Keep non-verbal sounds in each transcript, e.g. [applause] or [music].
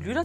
lytter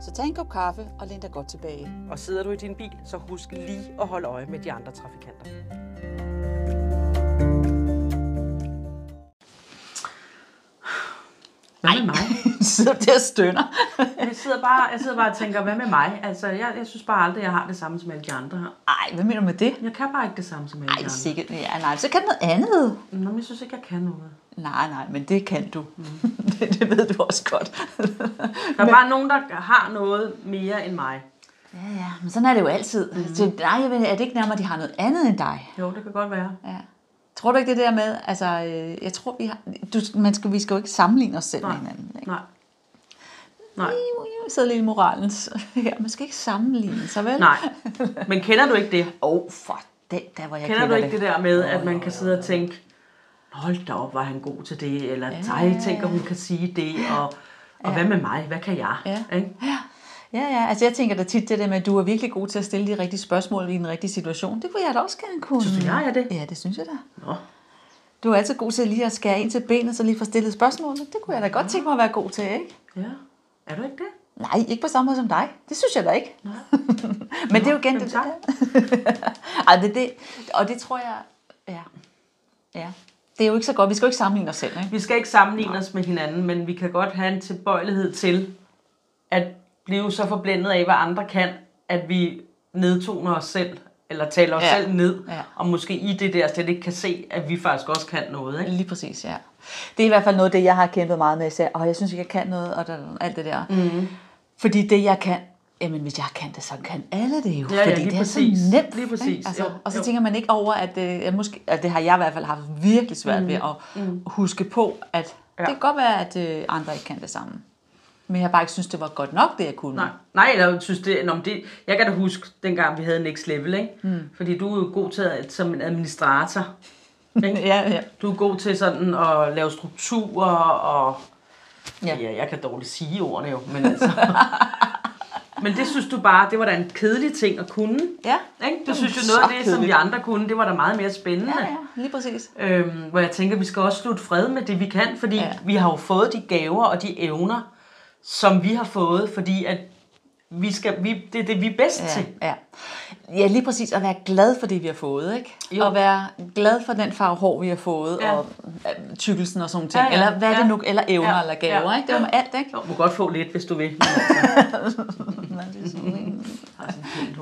Så tag en kop kaffe og læn dig godt [laughs] tilbage. Og sidder du i din bil, så husk lige at holde øje med de andre trafikanter. Hvad med mig? Sidder du der og stønner? Jeg sidder, bare, jeg sidder bare og tænker, hvad med mig? Altså, jeg, jeg synes bare aldrig, jeg har det samme som alle de andre her. Ej, hvad mener du med det? Jeg kan bare ikke det samme som alle Ej, de andre. sikkert. Ja, nej, så kan du noget andet. Nå, men jeg synes ikke, jeg kan noget. Nej, nej, men det kan du. [laughs] det, det ved du også godt. Der er bare nogen, der har noget mere end mig. ja, ja, men sådan er det jo altid. Mm. Så, nej, jeg mener, er det ikke nærmere, at de har noget andet end dig? Jo, det kan godt være. Ja. Tror du ikke det der med, altså, øh, jeg tror, vi har, du, man skal, vi skal jo ikke sammenligne os selv Nej. med hinanden. Ikke? Nej. Nej. Jeg sidder lidt i moralens [laughs] her. Man skal ikke sammenligne sig, vel? [laughs] Nej. Men kender du ikke det? Åh, oh, for den der, hvor jeg Kender du ikke det det der med, at man kan sidde og tænke, hold da op, var han god til det, eller ej, tænker hun kan sige det, og, og hvad med mig, hvad kan jeg? Ja. Ikke? Ja. Ja, ja, altså jeg tænker da tit det der med, at du er virkelig god til at stille de rigtige spørgsmål i den rigtige situation. Det kunne jeg da også gerne kunne. Synes du, jeg er det? Ja, det synes jeg da. Nå. Du er altid god til lige at skære ind til benet, så lige få stillet spørgsmål. Det kunne jeg da godt tænke mig at være god til, ikke? Ja. Er du ikke det? Nej, ikke på samme måde som dig. Det synes jeg da ikke. [laughs] Men det er jo igen jamen det tak. der. Ej, det, er det, og det tror jeg, ja. ja. Det er jo ikke så godt. Vi skal jo ikke sammenligne os selv, ikke? Vi skal ikke sammenligne os med hinanden, men vi kan godt have en tilbøjelighed til at blive så forblændet af, hvad andre kan, at vi nedtoner os selv, eller taler os Ja. ja. selv ned, Ja. ja. og måske i det der slet ikke kan se, at vi faktisk også kan noget. Ikke? Lige præcis, ja. Det er i hvert fald noget af det, jeg har kæmpet meget med. Især, og jeg synes ikke, jeg kan noget, og der, alt det der. Mm. Fordi det, jeg kan, jamen hvis jeg kan det, så kan alle det jo. Ja, ja, fordi lige det er så præcis. nemt. Lige præcis, ikke? Altså, jo, og så jo. tænker man ikke over, at øh, at måske, og det har jeg i hvert fald haft virkelig svært mm. ved at mm. huske på, at ja. Ja. det kan godt være, at øh, andre ikke kan det samme. Men jeg har bare ikke synes det var godt nok, det jeg kunne. Nej, nej, jeg synes det, nå, men det, jeg kan da huske, dengang vi havde Next Level, ikke? Hmm. Mm. fordi du er jo god til at, som en administrator. Ikke? Ja, ja. Du er god til sådan at lave strukturer og... Ja. Ja. ja, jeg kan dårligt sige ordene jo, men altså... [laughs] men det synes du bare, det var da en kedelig ting at kunne. Ja. Ikke? Du Det synes var jo så noget af det, som kedeligt. vi andre kunne, det var da meget mere spændende. Ja, ja, lige præcis. Øhm, hvor jeg tænker, vi skal også slutte fred med det, vi kan, fordi Ja. ja. vi har jo fået de gaver og de evner, som vi har fået, fordi at vi skal, vi, det er det, vi er bedst ja. til. Ja, ja. ja, lige præcis. At være glad for det, vi har fået. Ikke? Jo. Og være glad for den farve hår, vi har fået. Ja. Og øh, tykkelsen og sådan ting. Ja, Ja, ja. ja. Eller hvad ja. det Ja. nu Eller evner ja. Ja. eller gaver. Ja. Ikke? Det var med alt, ikke? Du må godt få lidt, hvis du vil. altså. [laughs] Det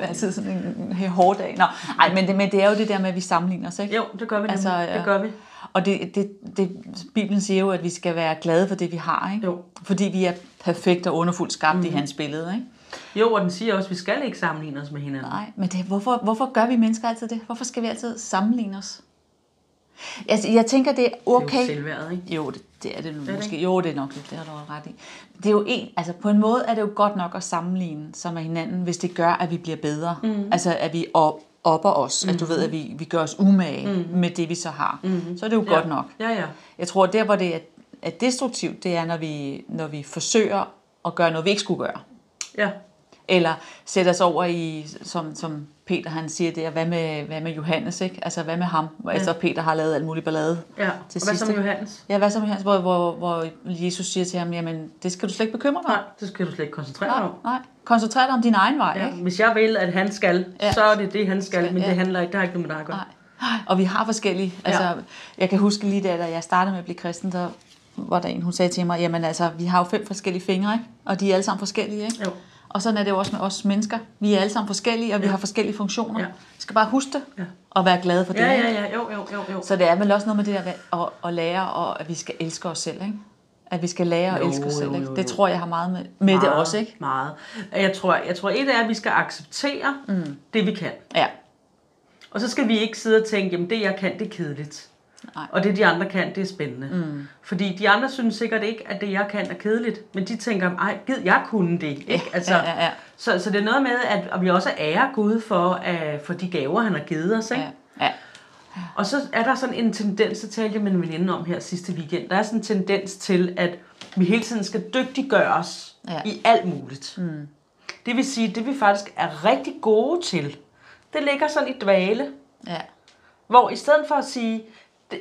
er altid sådan en, en hård dag. Nå, ej, men det, men det er jo det der med, at vi sammenligner os, ikke? Jo, det gør vi Altså, altså, ja. ja. Det gør vi. Og det, det, det, Bibelen siger jo, at vi skal være glade for det, vi har, ikke? Jo. Fordi vi er perfekt og underfuldt skabt mm. i hans billede, ikke? Jo, og den siger også, at vi skal ikke sammenligne os med hinanden. Nej, men det, hvorfor, hvorfor gør vi mennesker altid det? Hvorfor skal vi altid sammenligne os? Altså, jeg tænker, det er okay. Det er jo selvværd, ikke? Jo, det, det er det nu det måske. Jo, det er nok lidt, det har du ret i. Det er jo en, altså på en måde er det jo godt nok at sammenligne sig med hinanden, hvis det gør, at vi bliver bedre. Mm. Altså at vi op, opper os, mm. at du ved, at vi, vi gør os umage mm. med det, vi så har. Mm. Så er det jo ja. godt nok. Ja, ja. Jeg tror, der hvor det er, er destruktivt, det er, når vi, når vi forsøger at gøre noget, vi ikke skulle gøre. ja. Eller sætte os over i, som, som Peter han siger der, hvad med, hvad med Johannes, ikke? Altså, hvad med ham? Hvor altså, Peter har lavet alt muligt ballade. ja. Til og hvad så sidst, med ikke? Johannes? Ja, hvad som helst, hvor, hvor, hvor Jesus siger til ham, jamen, det skal du slet ikke bekymre dig om. Nej, det skal du slet ikke koncentrere dig om. Nej, koncentrer dig om din egen vej, ja. Ja. ikke? Hvis jeg vil, at han skal, Ja. ja. så er det det, han skal, men Ja. det handler ikke, det har ikke noget med dig at gøre. Nej. Nej. Og vi har forskellige. Altså, ja. Jeg kan huske lige da, da jeg startede med at blive kristen, der var der en, hun sagde til mig, jamen altså, vi har jo fem forskellige fingre, ikke? Og de er alle sammen forskellige, ikke? Jo. Og sådan er det jo også med os mennesker. Vi er alle sammen forskellige, og vi har forskellige funktioner. Ja. Vi skal bare huske det, ja. og være glade for det. Ja, ikke? ja, ja, jo, jo, jo, jo. Så det er vel også noget med det der med at, at lære, og at vi skal elske os selv, ikke? At vi skal lære at Jo, elske os jo, selv, ikke? jo, Det jo. tror jeg har meget med, med det Meget, også, ikke? Meget. Jeg tror, jeg tror et er, at vi skal acceptere mm. det, vi kan. Ja, Og så skal vi ikke sidde og tænke, jamen det, jeg kan, det er kedeligt. Nej. Og det, de andre kan, det er spændende. Mm. Fordi de andre synes sikkert ikke, at det, jeg kan, er kedeligt. Men de tænker, ej, gid, jeg kunne det. Ikke? altså, ja, ja, ja. Så, så det er noget med, at og vi også ærer Gud for, uh, for de gaver, han har givet os. Ikke? Ja. ja. Og så er der sådan en tendens, det talte jeg med en veninde om her sidste weekend, der er sådan en tendens til, at vi hele tiden skal dygtiggøre os Ja. ja. i alt muligt. Mm. Det vil sige, det vi faktisk er rigtig gode til, det ligger sådan i dvale. ja. Hvor i stedet for at sige, "De-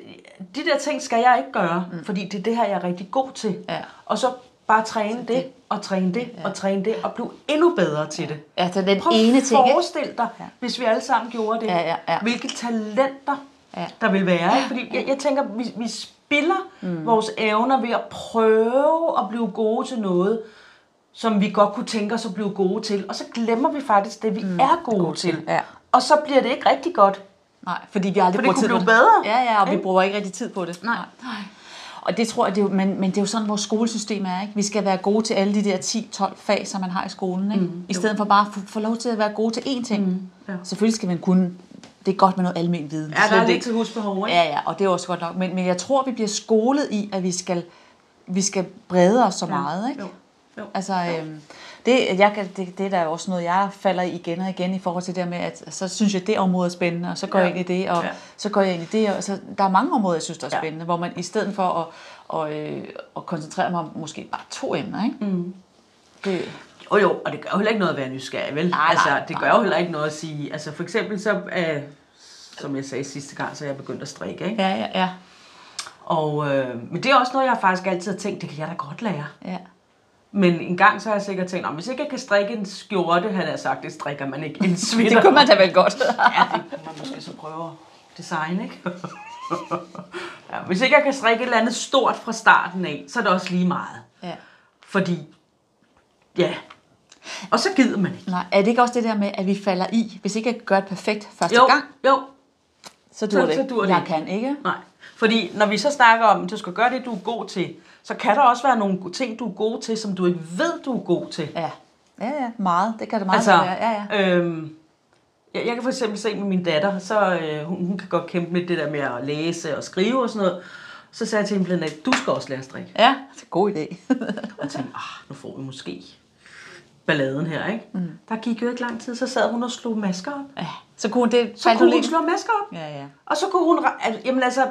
de der ting skal jeg ikke gøre, mm. fordi det er det her, jeg er rigtig god til. Ja. Og så bare træne det, og træne det, og træne det, og blive endnu bedre til det. Ja, så altså, den Prøv ene at ting, ikke? forestil dig, hvis vi alle sammen gjorde det, Ja, ja, ja. hvilke talenter Ja. der vil være. Ikke? Fordi jeg, jeg tænker, vi, vi spiller mm. vores evner ved at prøve at blive gode til noget, som vi godt kunne tænke os at blive gode til. Og så glemmer vi faktisk det, vi mm. er gode, gode til. ja. Og så bliver det ikke rigtig godt. Nej, fordi vi aldrig For det bruger kunne tid blive på bedre, Ja, ja, og vi ikke? bruger ikke rigtig tid på det. Nej. Nej. Og det tror jeg, det er jo, men, men det er jo sådan, vores skolesystem er. Ikke? Vi skal være gode til alle de der 10-12 fag, som man har i skolen. Ikke? Mm, I stedet for bare at få, få lov til at være gode til én ting. Mm, ja. Selvfølgelig skal man kunne... Det er godt med noget almen viden. Ja, slet der er lidt ikke- til husbehov, ikke? Ja, ja, og det er også godt nok. Men, men jeg tror, vi bliver skolet i, at vi skal, vi skal brede os så meget. Ikke? Jo. Jo. Altså, øhm, det, jeg, kan- det, det er da også noget, jeg falder i igen og igen i forhold til det der med, at så synes jeg, det område er spændende, og så går ja. Ja. jeg ind i det, og ja. Ja. så går jeg ind i det. Og så, der er mange områder, jeg synes, der er Ja. spændende, hvor man i stedet for at, og, øh, at koncentrere mig om måske bare to emner, ikke? Mm. Det, Jo, jo, og det gør jo heller ikke noget at være nysgerrig, vel? Nej, altså, nej, det nej. gør jo heller ikke noget at sige... Altså, for eksempel så... Øh, som jeg sagde sidste gang, så er jeg begyndt at strikke, ikke? ja, ja, ja, Og, øh, men det er også noget, jeg faktisk altid har tænkt, det kan jeg da godt lære. ja. Men en gang så har jeg sikkert tænkt, "Nå, hvis ikke jeg kan strikke en skjorte, han har sagt, det strikker man ikke en [laughs] svitter. Det kunne man da vel godt. [laughs] Ja, det kunne man måske så prøve at designe, ikke? [laughs] ja, hvis ikke jeg kan strikke et eller andet stort fra starten af, så er det også lige meget. ja. Fordi, ja. Og så gider man ikke. Nej, er det ikke også det der med, at vi falder i, hvis ikke jeg gør det perfekt første gang, jo, så dur så- det så ikke. dur det Jeg ikke. kan ikke. Nej. Fordi når vi så snakker om, at du skal gøre det, du er god til, så kan der også være nogle ting, du er god til, som du ikke ved, du er god til. Ja, ja, ja meget. Det kan det meget Altså, altså, være. Ja, ja. Øhm, jeg, jeg kan for eksempel se med min datter, så øh, hun, hun kan godt kæmpe med det der med at læse og skrive og sådan noget. Så sagde jeg til hende blandt andet, du skal også lære at strikke. Ja, det er en god idé. [laughs] Og jeg tænkte, ah, nu får vi måske balladen her, ikke? Mm. Der gik jo ikke lang tid, så sad hun og slog masker op. ja. Så kunne det... Så kunne hun slå masker op. Ja, ja. Og så kunne hun, re- al- jamen altså,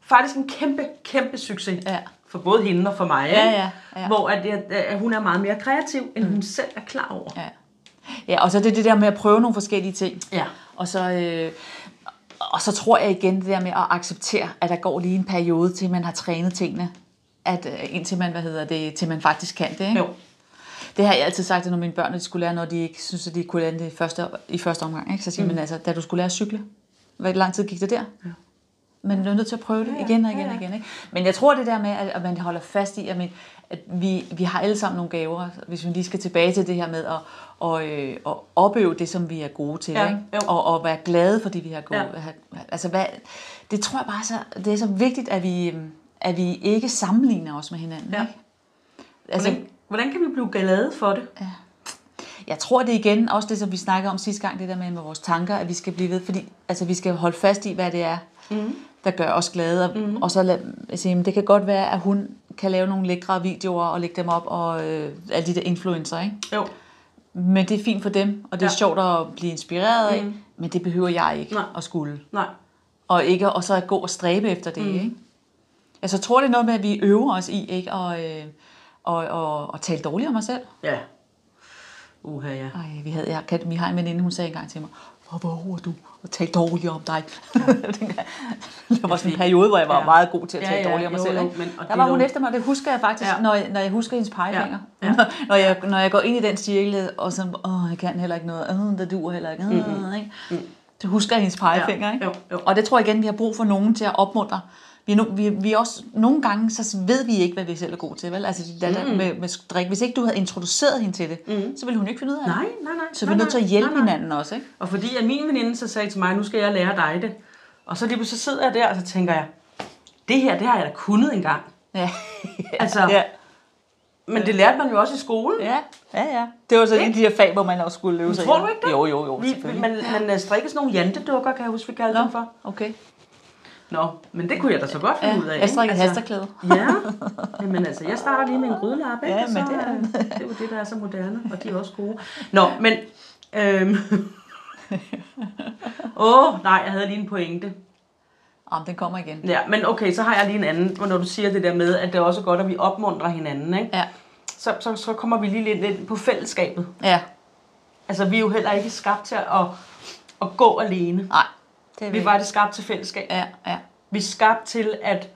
faktisk en kæmpe, kæmpe succes. Ja. For både hende og for mig. Ja, ikke? ja, ja. Hvor at, jeg- at hun er meget mere kreativ, end mm. hun selv er klar over. Ja. ja, og så er det det der med at prøve nogle forskellige ting. Ja. Og så, øh, og så tror jeg igen det der med at acceptere, at der går lige en periode, til man har trænet tingene. At, øh, indtil man, hvad hedder det, til man faktisk kan det, ikke? Jo. Det har jeg altid sagt, at når mine børn de skulle lære, når de ikke synes, at de kunne lære det i første, i første omgang. Ikke? Så siger mm. man altså, da du skulle lære at cykle, hvor lang tid gik det der? Ja. Men du er nødt til at prøve det ja, igen og igen ja, og igen. Ikke? Men jeg tror det der med, at at man holder fast i, at, man, at vi, vi har alle sammen nogle gaver, hvis vi lige skal tilbage til det her med at, og, øh, at opøve det, som vi er gode til. Ja, jo. ikke? Og, og være glade for det, vi har gode. Ja. Ja. Altså, hvad, det tror jeg bare, så, det er så vigtigt, at vi, øhm, at vi ikke sammenligner os med hinanden. Ja. Ikke? Altså, Hvordan, hvordan kan vi blive glade for det? jeg tror det er igen, også det som vi snakkede om sidste gang, det der med, med vores tanker, at vi skal blive ved, fordi altså, vi skal holde fast i, hvad det er, mm. der gør os glade. Og, mm. og så lad, altså, jamen, det kan godt være, at hun kan lave nogle lækre videoer og lægge dem op, og øh, alle de der influencer, ikke? Jo. Men det er fint for dem, og det er ja. Ja. sjovt at blive inspireret mm. af, men det behøver jeg ikke Nej. at skulle. Nej. Og, ikke, og så at gå og stræbe efter det, mm. ikke? Altså, jeg tror, det er noget med, at vi øver os i, ikke? Og, øh, og, og, og tale dårligt om os selv. Ja. Uha, ja. Ej, vi, havde, jeg, kan, vi har en veninde, hun sagde engang til mig, hvor våger du at tale dårligt om dig? [laughs] det var sådan en periode, hvor jeg var ja. Ja. meget god til at Ja, tale ja, ja, dårligt om mig jo, selv. jo, Ikke? men- og der det var er hun jo- efter mig, det husker jeg faktisk, ja. Ja. når, jeg, når jeg husker hendes pegefinger. Ja. Ja, Ja. ja. [laughs] når, jeg, når jeg går ind i den cirkel, og sådan, åh, jeg kan heller ikke noget, øh, der duer heller ikke. Øh, mm-hmm. ikke? Så husker jeg hendes pegefinger. Mm. Ja, Ikke? jo, jo. Og det tror jeg igen, vi har brug for nogen til at opmuntre. Vi, er no, vi, vi er også, nogle gange så ved vi ikke, hvad vi selv er gode til. Vel? Altså, det der, Mm. der med, med drik. Hvis ikke du havde introduceret hende til det, mm. så ville hun ikke finde ud af det. Nej, nej, nej. Så vi nej, er nødt til at nej, hjælpe nej, nej. hinanden også, ikke? Og fordi at min veninde så sagde til mig, nu skal jeg lære dig det. Og så lige pludselig så sidder jeg der, og så tænker jeg, det her, det har jeg da kunnet engang. Ja. Altså, ja. men det lærte man jo også i skolen. ja. ja, ja. Det var så en af de der fag, hvor man også skulle løse. Tror du ikke det? Jo, jo, jo, Vi, selvfølgelig. man, man øh, strikkede sådan nogle jantedukker, kan jeg huske, vi kaldte dem for. Okay. Nå, men det kunne jeg da så godt finde ud af. Jeg strikker ikke? Altså, hasteklæde. Ja, men altså, jeg starter lige med en grydelappe, ikke? Ja, Og så, men det er- øh, det er jo det, der er så moderne, og de er også gode. Nå, men... [laughs] Øhm. Åh, oh, nej, jeg havde lige en pointe. Altså- Om den kommer igen. Ja, men okay, så har jeg lige en anden, hvor når du siger det der med, at det er også godt, at vi opmuntrer hinanden, ikke? Ja. Så, så, så kommer vi lige lidt, lidt ind på fællesskabet. Ja. Altså, vi er jo heller ikke skabt til at, at gå alene. Nej. Det er Vi var det skabt til fællesskab. Ja, ja. Vi er skabt til at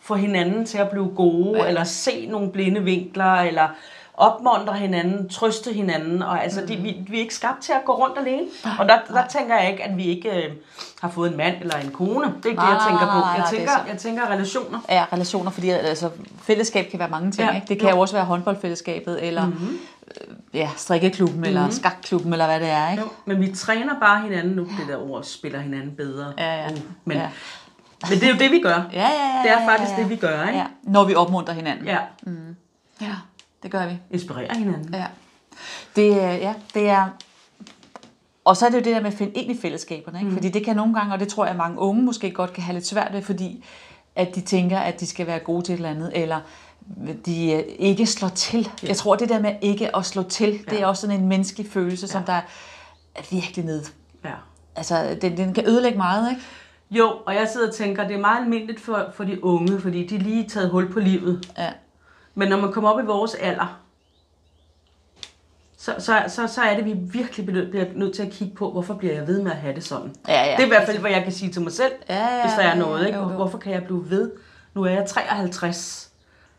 få hinanden til at blive gode, ja. Ja. eller se nogle blinde vinkler, eller opmuntre hinanden, trøste hinanden. Og altså, mm-hmm. de, Mm. vi, vi er ikke skabt til at gå rundt alene. Og der, der tænker jeg ikke, at vi ikke øh, har fået en mand eller en kone. Det er ikke Nej, det, jeg nej, tænker nej, på. nej, nej, Jeg det er tænker, så- jeg tænker relationer. Ja, relationer, fordi altså, fællesskab kan være mange ting. Ja. Mhm. Ja. Ikke? Det kan jo også være håndboldfællesskabet, eller mm-hmm. ja, strikkeklubben, mm-hmm. eller skakklubben, eller hvad det er. Ikke? Jo, men vi træner bare hinanden nu. Det der ord spiller hinanden bedre. Ja, ja. Uh, men, Ja. men det er jo det, vi gør. Ja, ja, ja. Det er ja, faktisk ja, det, vi gør, ikke? Ja, når vi opmuntrer hinanden. Ja, ja det gør vi. inspirerer hinanden. Mm. Ja. Det, øh, ja, det er... Og så er det jo det der med at finde ind i fællesskaberne, ikke? Mm. fordi det kan nogle gange, og det tror jeg mange unge måske godt kan have lidt svært ved, fordi at de tænker, at de skal være gode til et eller andet, eller de øh, ikke slår til. Ja. Jeg tror, det der med ikke at slå til, ja. det er også sådan en menneskelig følelse, ja. som der er virkelig ned. Ja. Altså, den, den kan ødelægge meget, ikke? Jo, og jeg sidder og tænker, det er meget almindeligt for, for de unge, fordi de er lige taget hul på livet. Ja. Men når man kommer op i vores alder, så, så, så, så er det, vi virkelig bliver, bliver nødt til at kigge på, hvorfor bliver jeg ved med at have det sådan. Ja, ja. Det er i hvert fald, hvad jeg kan sige til mig selv, Ja, ja, hvis der er ja, noget. Ikke? jo, jo. Hvorfor kan jeg blive ved? Nu er jeg 53.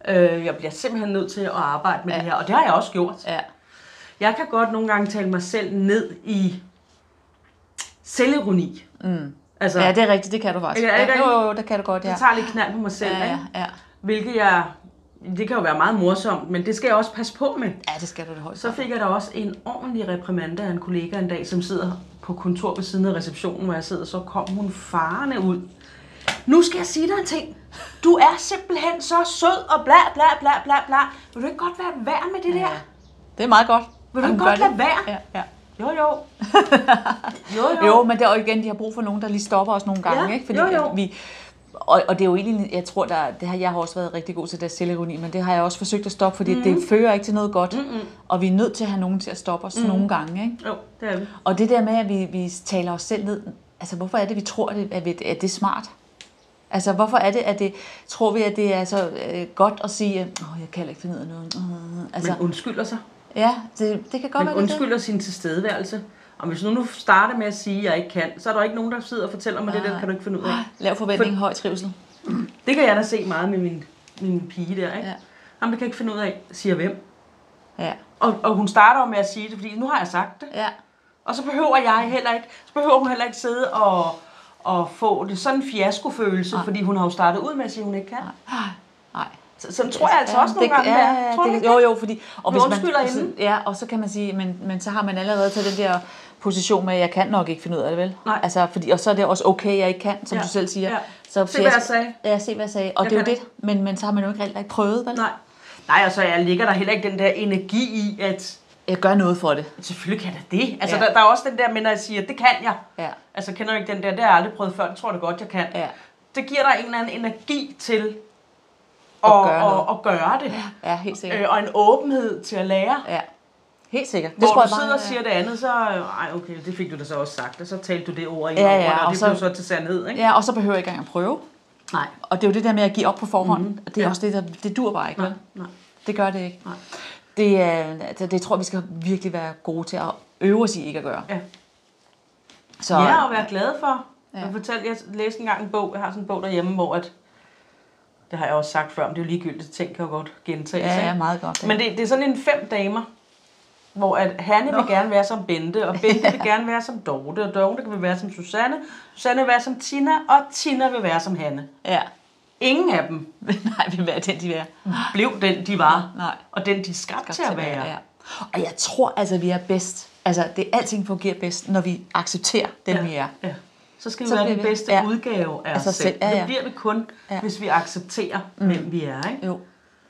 Øh, jeg bliver simpelthen nødt til at arbejde med ja. det her, og det har jeg også gjort. Ja. Jeg kan godt nogle gange tale mig selv ned i selvironi. Mm. Altså, ja, ja, det... det er rigtigt, det kan du faktisk. Ja, er det jo, rigtigt? jo, det kan du godt, ja. jeg tager lidt knald på mig selv, Ja, ja, ja, Ikke? ja. hvilket jeg... Det kan jo være meget morsomt, men det skal jeg også passe på med. ja, det skal du det højst. Så Så... fik jeg da også en ordentlig reprimande af en kollega en dag, som sidder på kontor ved siden af receptionen, hvor jeg sidder, så kom hun farende ud. Nu skal jeg sige dig en ting. Du er simpelthen så sød og bla bla bla bla bla. Vil du ikke godt være værd med det der? Det er meget godt. Vil du Jamen, ikke gør godt det. lade være? Ja, ja. Jo jo. Jo jo. Jo, men det er jo igen, de har brug for nogen, der lige stopper os nogle gange, Ja, ikke? Fordi jo, jo. at vi, og, og det er jo egentlig, jeg tror, der, det har jeg har også været rigtig god til, der selvironi, men det har jeg også forsøgt at stoppe, fordi mm. det fører ikke til noget godt. Mm-mm. Og vi er nødt til at have nogen til at stoppe os mm. nogle gange, ikke? Jo, det er vi. Og det der med, at vi, vi taler os selv ned, altså hvorfor er det, vi tror, at det, at vi- at det er smart? Altså hvorfor er det, at det, tror vi, at det er så øh, godt at sige, åh, jeg kan heller ikke finde ud af noget. Øh, altså, Men undskylder sig. ja, det, det kan godt være Men det er det. undskylder sin tilstedeværelse. Og hvis nu nu starter med at sige, at jeg ikke kan, så er der ikke nogen, der sidder og fortæller mig, det der kan du ikke finde ud af. Lav forventning, høj trivsel. Det kan jeg da se meget med min, min pige der, ikke? Ja. Ja. Jamen, det kan jeg ikke finde ud af, siger hvem. Ja, Og, og hun starter jo med at sige det, fordi nu har jeg sagt det. ja. Og så behøver jeg heller ikke, så behøver hun heller ikke sidde og, og få det sådan en fiaskofølelse, fordi hun har jo startet ud med at sige, at hun ikke kan. Nej. Så, sådan tror jeg altså også nogle gange, ja, det er. ja, Tror du det, ikke jo, det? jo, fordi... Og Vi undskylder inden. Ja, og så kan man sige, men, men så har man allerede taget den der position med, at jeg kan nok ikke finde ud af det, vel? Nej. Altså, fordi, og så er det også okay, jeg ikke kan, som Ja, du selv siger. ja. Så Se, hvad jeg sagde. Ja, se, hvad jeg sagde. Og Jeg det er jo kan det, men, men så har man jo ikke rigtig ikke prøvet, vel? Nej. Nej, altså jeg ligger der heller ikke den der energi i, at Jeg gør noget for det. selvfølgelig kan jeg da det. Altså Ja. der, der er også den der med, når jeg siger, det kan jeg. Ja. Altså kender du ikke den der, det har jeg aldrig prøvet før, det tror jeg da godt, jeg kan. Ja. Det giver dig en eller anden energi til at, At gøre at, gøre, noget. at, at gøre det. Ja, helt sikkert. Øh, og en åbenhed til at lære. Ja. Helt sikkert. Det Hvor tror du jeg bare- sidder og siger det andet, så øh, ej, okay, det fik du da så også sagt, og så talte du det ord ind Ja, over, ja, dig, og, og det så- blev så til sandhed, ikke? Ja, og så behøver jeg ikke engang at prøve. Nej. Og det er jo det der med at give op på forhånd. Mm-hmm. Det er ja. også det, der, det dur bare ikke. Mhm. Nej, vel? nej. Det gør det ikke. Nej. Det, er- altså, det tror jeg, vi skal virkelig være gode til at øve os i ikke at gøre. Ja. Så, Ja, og være glad for. Ja. Ja. Jeg fortalte, jeg læste engang en bog, jeg har sådan en bog derhjemme, hvor at, det har jeg også sagt før, men det er jo ligegyldigt, ting kan jo godt gentages. ja, ikke? ja, meget godt. Men det, det er sådan en fem damer, hvor at Hanne vil gerne være som Bente, og [laughs] Bente vil gerne være som Dorte, og Dorte vil være som Susanne, Susanne vil være som Tina, og Tina vil være som Hanne. Ja. [laughs] Ingen af dem Nej, vi vil være den, de vil være. blev den, de var, Nej. og den, de er skabt til at være. Ja. Og jeg tror altså, vi er bedst. Altså, det, alting fungerer bedst, når vi accepterer den, vi er. Ja. Så skal vi Så være bliver den vi- bedste ja. udgave af Altså os selv. selv, ja, ja. Det bliver vi kun, Ja. Mm. hvis vi accepterer, hvem vi er. Ikke? Jo.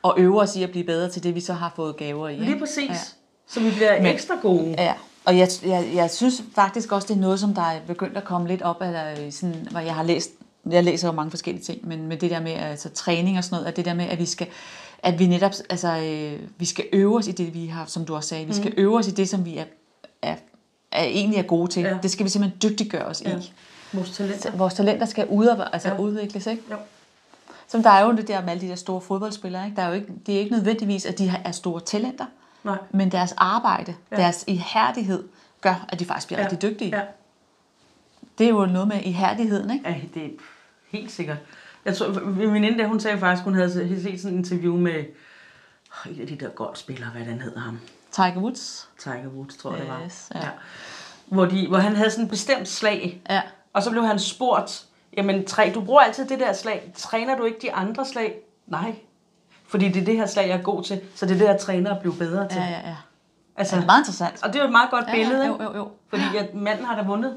Og øve os i at blive bedre til det, vi så har fået gaver i. ikke? Lige præcis. Så vi bliver ekstra gode. Ja, og jeg, jeg, jeg synes faktisk også, det er noget, som der er begyndt at komme lidt op, eller øh, sådan, hvor jeg har læst jeg læser jo mange forskellige ting, men, men det der med altså, træning og sådan noget, at det der med, at vi skal at vi netop, altså, øh, vi skal øve os i det, vi har, som du også sagde, vi Mm. skal øve os i det, som vi er, er, er egentlig er gode til. Ja. Ja. Det skal vi simpelthen dygtiggøre os ja. i. Vores talenter. Så vores talenter skal ud, altså Ja. ja. udvikles, ikke? Jo. Som der er jo det der med alle de der store fodboldspillere, ikke? Der er jo ikke, det er ikke nødvendigvis, at de har- er store talenter, Nej. men deres arbejde, Ja. ja. deres ihærdighed, gør, at de faktisk bliver ja. rigtig dygtige. Ja. Ja. Det er jo noget med ihærdigheden, ikke? Ja, det er helt sikkert. Jeg tror, min veninde der, hun sagde faktisk, hun havde set sådan et interview med åh, en af de der golfspillere, hvad den hedder ham. Tiger Woods. Tiger Woods, tror jeg, det var. Yes, ja. Hvor, de, hvor han havde sådan et bestemt slag, Ja. og så blev han spurgt, jamen træ, du bruger altid det der slag, træner du ikke de andre slag? Nej, fordi det er det her slag, jeg er god til, så det er det, jeg træner at blive bedre til. Ja, ja, ja. Altså, Det er meget interessant. og det er jo et meget godt Ja, ja, billede, jo, ikke? jo, [laughs] jo. fordi at manden har da vundet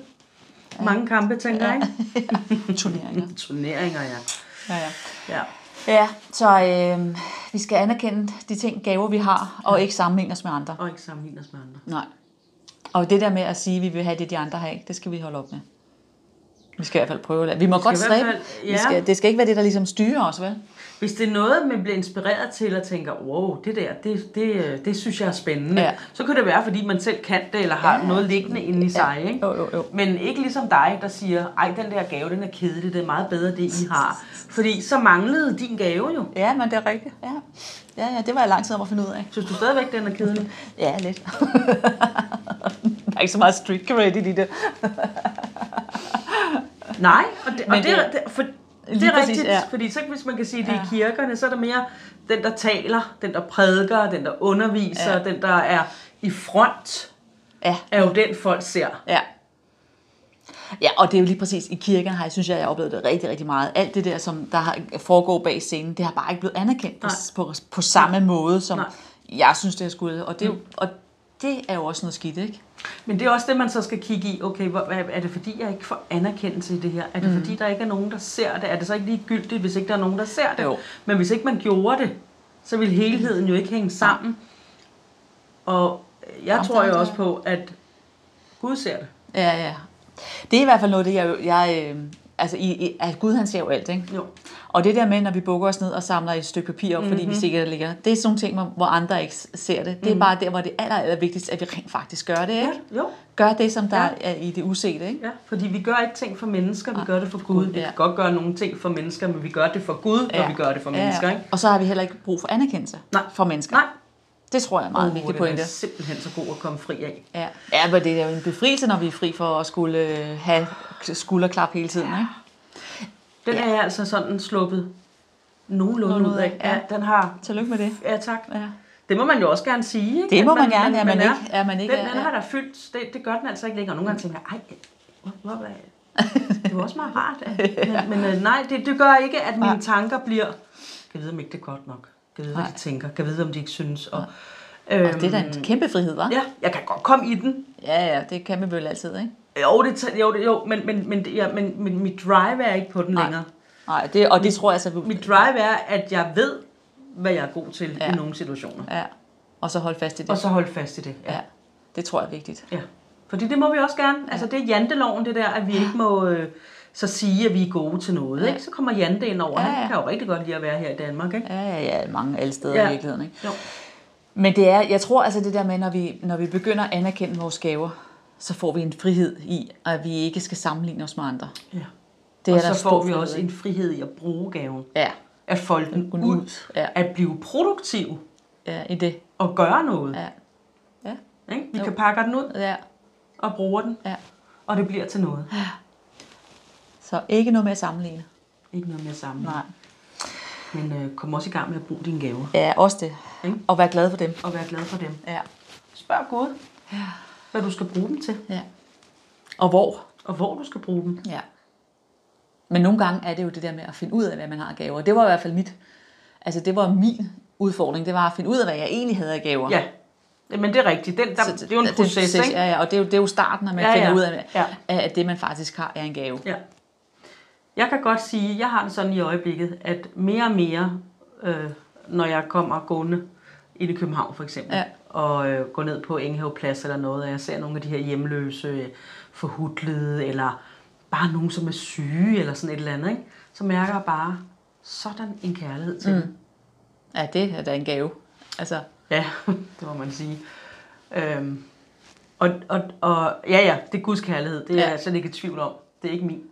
mange kampe, tænker jeg, ikke? Turneringer. [laughs] Turneringer, ja. Ja, ja. ja. ja så øh, vi skal anerkende de ting, gaver vi har, og ikke sammenligne os med andre. Og ikke sammenligne os med andre. Nej. Og det der med at sige, at vi vil have det, de andre har ikke, det skal vi holde op med. Vi skal i hvert fald prøve det. Vi må vi godt skal i hvert stræbe. fald- Ja. ja. Vi skal, det skal ikke være det, der ligesom styrer os, vel? Hvis det er noget, man bliver inspireret til og tænker, wow, det der, det, det, øh, det synes jeg er spændende, Ja. så kan det være, fordi man selv kan det, eller har ja. noget liggende inde i sig. Ikke? Jo, jo, jo. Men ikke ligesom dig, der siger, ej, den der gave, den er kedelig, det er meget bedre, det I har. Fordi så manglede din gave jo. Ja, men det er rigtigt. Ja, ja, ja det var jeg lang tid om at finde ud af. Synes du stadigvæk, den er kedelig? Ja, lidt. [laughs] der er ikke så meget street cred i det. Nej, og det, og Men det, er- det, for, det er præcis, rigtigt, ja. ja. fordi så hvis man kan sige, det er i kirkerne, så er der mere den, der taler, den, der prædiker, den, der underviser, ja. den, der er i front, Ja, er jo den, folk ser. Ja. Ja, og det er jo lige præcis i kirken, har jeg synes jeg, jeg har oplevet det rigtig, rigtig meget. Alt det der, som der har- foregår bag scenen, det har bare ikke blevet anerkendt på, Nej. på, på samme måde, som Nej. Mm. jeg synes, det har skulle. Og det, er jo- og det er jo også noget skidt, ikke? Men det er også det, man så skal kigge i. Okay, hvor, er er det fordi, jeg ikke får anerkendelse i det her? Er det mm. fordi, der ikke er nogen, der ser det? Er det så ikke ligegyldigt, hvis ikke der er nogen, der ser det? Jo. Men hvis ikke man gjorde det, så ville helheden jo ikke hænge sammen. Og jeg Jamen, tror det er jo det. også på, at Gud ser det. Ja, ja. Det er i hvert fald noget, af det jeg... jeg øh, altså, i, i, at Gud han ser jo alt, ikke? Jo. Og det der med, når vi bukker os ned og samler et stykke papir op, mm-hmm. Mhm. fordi vi sikkert ligger... Det er sådan nogle ting, hvor- hvor andre ikke ser det. Det er mm-hmm. bare der, hvor det er aller, aller vigtigst, at vi rent faktisk gør det, ikke? Jo. Gør det, som der Ja. ja. er i det usete, ikke? Ja, fordi vi gør ikke ting for mennesker, vi gør det for Gud. Vi ja. kan godt gøre nogle ting for mennesker, men vi gør det for Gud, når vi gør det for mennesker. Ikke? Og så har vi heller ikke brug for anerkendelse Nej. fra mennesker. Nej, Uh, Det tror jeg er en meget oh, vigtig det er pointe. simpelthen så god at komme fri af. Ja. ja, men det er jo en befrielse, når vi er fri for at skulle øh, have skulderklap hele tiden. Ikke? Den ja. er jeg altså sådan sluppet nogenlunde ud af. Ja. ja, den har... Tillykke med det. Ja, tak. Ja. Det må man jo også gerne sige. Ikke? Det må At man gerne, at man ikke- at man ikke den, er- den ja. har der fyldt. Det, det gør den altså ikke længere. Nogle gange tænker jeg, ej, hvor, hvor, [laughs] hvor, det var også meget rart. at- Men, men øh, nej, det, det gør ikke, at mine tanker bliver... Jeg ved, om ikke det er godt nok. Jeg ved, hvad de tænker. Jeg ved, om de ikke synes. Og, øhm, Og det er da en kæmpe frihed, hva'? Ja, jeg kan godt komme i den. ja, ja det kan vi vel altid, ikke? Jo, det, tæ- jo, det, jo men, men, men, det- ja, men, men mit drive er ikke på den længere. Nej, det, og det tror jeg så... Vi, Mit drive er, at jeg ved, hvad jeg er god til ja. Ja. i nogle situationer. ja. Og så holde fast i det. Og så holde fast i det. Ja. ja. Det tror jeg er vigtigt. ja. Fordi det må vi også gerne. Altså, det er janteloven, det der, at vi ikke må øh, så sige, at vi er gode til noget. Ikke? Så kommer Jante ind over. Ja, Han ja. kan jo rigtig godt lide at være her i Danmark. Ikke? Ja, ja, ja, mange alle steder Ja. i virkeligheden, ikke? Jo. Men det er, jeg tror altså det der med, når vi, når vi begynder at anerkende vores gaver, så får vi en frihed i, at vi ikke skal sammenligne os med andre. Ja. Det Og der så stor får vi frihed også i. en frihed i at bruge gaven. Ja, At folde den kunne ud. ud, ja. At blive produktiv ja, i det. og gøre noget. Ja. Ja. Ikke? Vi kan pakke den ud Ja, og bruge den, ja. og det bliver til noget. Så ikke noget med at sammenligne. Ikke noget mere sammen. Men øh, kom også i gang med at bruge dine gaver. Ja, også det. Ikke? Og være glad for dem. Og være glad for dem. Ja. Spørg Gud, hvad du skal bruge dem til. ja. Og hvor. Og hvor du skal bruge dem. Ja. Men nogle gange er det jo det der med at finde ud af, hvad man har af gaver. Det var i hvert fald mit, altså det var min udfordring, det var at finde ud af, hvad jeg egentlig havde af gaver. Ja, men det er rigtigt. Den, der, Så det er jo en proces, ikke? Ja, ja, og det er jo, det er jo starten, at man Ja, ja, ja. finder ud af, Ja. ja. at det, man faktisk har, er en gave. Ja. Jeg kan godt sige, jeg har det sådan i øjeblikket, at mere og mere, øh, når jeg kommer gående ind i København for eksempel, Ja. og øh, går ned på Enghavplads eller noget, og jeg ser nogle af de her hjemløse, øh, forhudlede eller bare nogen, som er syge eller sådan et eller andet, ikke? så mærker jeg bare sådan en kærlighed til mm. dem. Ja, det er da en gave. Altså, Ja, [laughs] det må man sige. Øhm, og, og, og ja, ja, det er Guds kærlighed. Det er Ja. ja. jeg slet ikke i tvivl om. Det er ikke min.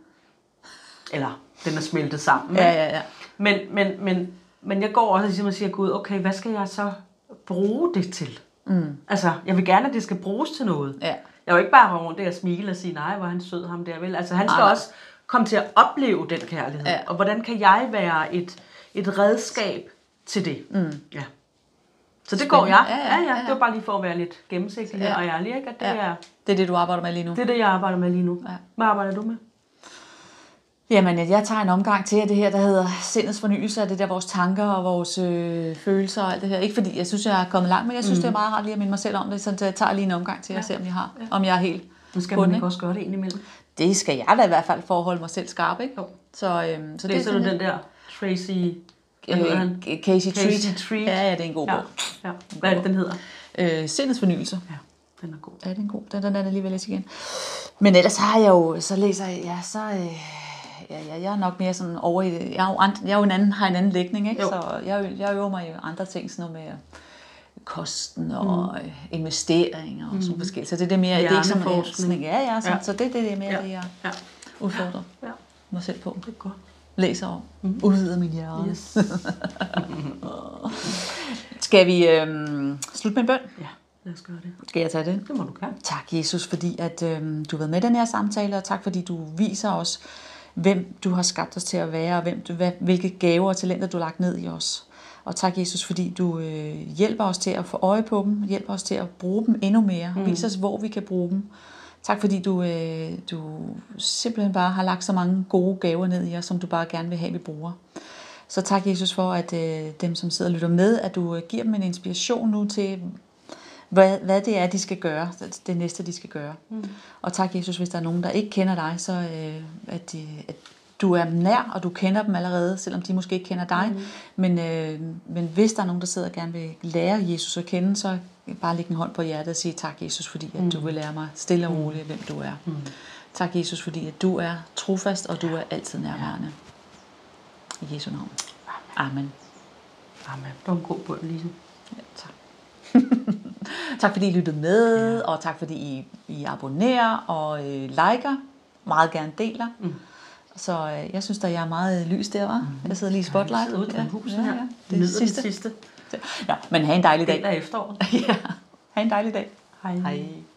Eller, den er smeltet sammen. ja, ikke? ja, ja. Men, men, men, men jeg går også og ligesom og siger, Gud, okay, hvad skal jeg så bruge det til? Mm. Altså, jeg vil gerne, at det skal bruges til noget. Ja. Jeg vil ikke bare rende rundt der og smile og sige, nej, hvor er han sød ham der, vel? Altså, han skal Nej, nej. også komme til at opleve den kærlighed. Ja. Og hvordan kan jeg være et, et redskab til det? Mm. Ja. Så det går Spændende. jeg. Ja, ja, ja, ja. Det var bare lige for at være lidt gennemsigtig her Ja. og ærlig, ikke? At det, Ja. ja. er, Det er det, du arbejder med lige nu. det er det, jeg arbejder med lige nu. Ja. Hvad arbejder du med? Jamen, jeg- jeg tager en omgang til af det her, der hedder sindets fornyelse, og det der vores tanker og vores øh, følelser og alt det her. Ikke fordi jeg synes, jeg er kommet langt, men jeg synes, mm. det er meget rart lige at minde mig selv om det, så jeg tager lige en omgang til at se, om jeg, har, om jeg er helt Nu skal på den, man ikke også gøre det indimellem. Det skal jeg da i hvert fald for at holde mig selv skarp, ikke? Jo. Så, øhm, så det er Læser sådan du lidt- den der Tracy... Hvad hedder han? Øh, Casey, Casey Treat. Casey Treat. Ja, ja, det er en god Ja. bog. ja. Hvad er det, den hedder? Øh, sindets fornyelse. Ja, den er god. Ja, den er god. Den, den er der lige ved at læse igen. Men ellers har jeg jo, så læser jeg, ja, så, øh, ja, ja, jeg er nok mere sådan over i, jeg, er jo andre, jeg er jo en anden, har en anden lægning, ikke? Jo. Så jeg, jeg øver mig i andre ting, sådan noget med øh, kosten og mm. investeringer og sådan mm. forskelligt. Så det er det mere, det er ikke sådan, noget, jeg Hjerneforskning. sådan, ja, ja, sådan, ja. Ja. så det, det er det mere, Ja. det jeg Ja. udfordrer Ja, mig selv på. det er godt. Læser om, mm. udvider min hjerne. Yes. [laughs] Yes. Skal vi øhm, slutte med en bøn? Ja, lad os gøre det. Skal jeg tage det? Det må du gerne. Tak, Jesus, fordi at, øhm, du har været med i den her samtale, og tak, fordi du viser os, hvem du har skabt os til at være, og hvem du, hvad, hvilke gaver og talenter, du har lagt ned i os. Og tak, Jesus, fordi du øh, hjælper os til at få øje på dem, hjælper os til at bruge dem endnu mere, mm. viser os, hvor vi kan bruge dem. Tak, fordi du, øh, du simpelthen bare har lagt så mange gode gaver ned i os, som du bare gerne vil have, vi bruger. Så tak, Jesus, for at øh, dem, som sidder og lytter med, at du øh, giver dem en inspiration nu til, hvad, hvad det er, de skal gøre, det næste, de skal gøre. Mm. Og tak, Jesus, hvis der er nogen, der ikke kender dig, så øh, at, de, at du er nær, og du kender dem allerede, selvom de måske ikke kender dig. Mm. Men, øh, men hvis der er nogen, der sidder og gerne vil lære Jesus at kende, så bare læg en hånd på hjertet og sige tak, Jesus, fordi at du vil lære mig stille og roligt, hvem du er. Mm. Tak, Jesus, fordi at du er trofast, og du er altid nærværende. I Jesu navn. Amen. Amen. Det var en god bund, Lise. Ja, tak. [laughs] tak fordi I lyttede med, ja. og tak fordi I, I abonnerer og øh, liker. Meget gerne deler. Mm. Så øh, jeg synes da, jeg er meget lys der, var. Mm. Jeg sidder lige i spotlight. Jeg sidder ude i huset her. Det er Nyder sidste. den sidste Nå, men have en dejlig del dag. [laughs] af efteråret. ja, have en dejlig dag. Hej. Hej.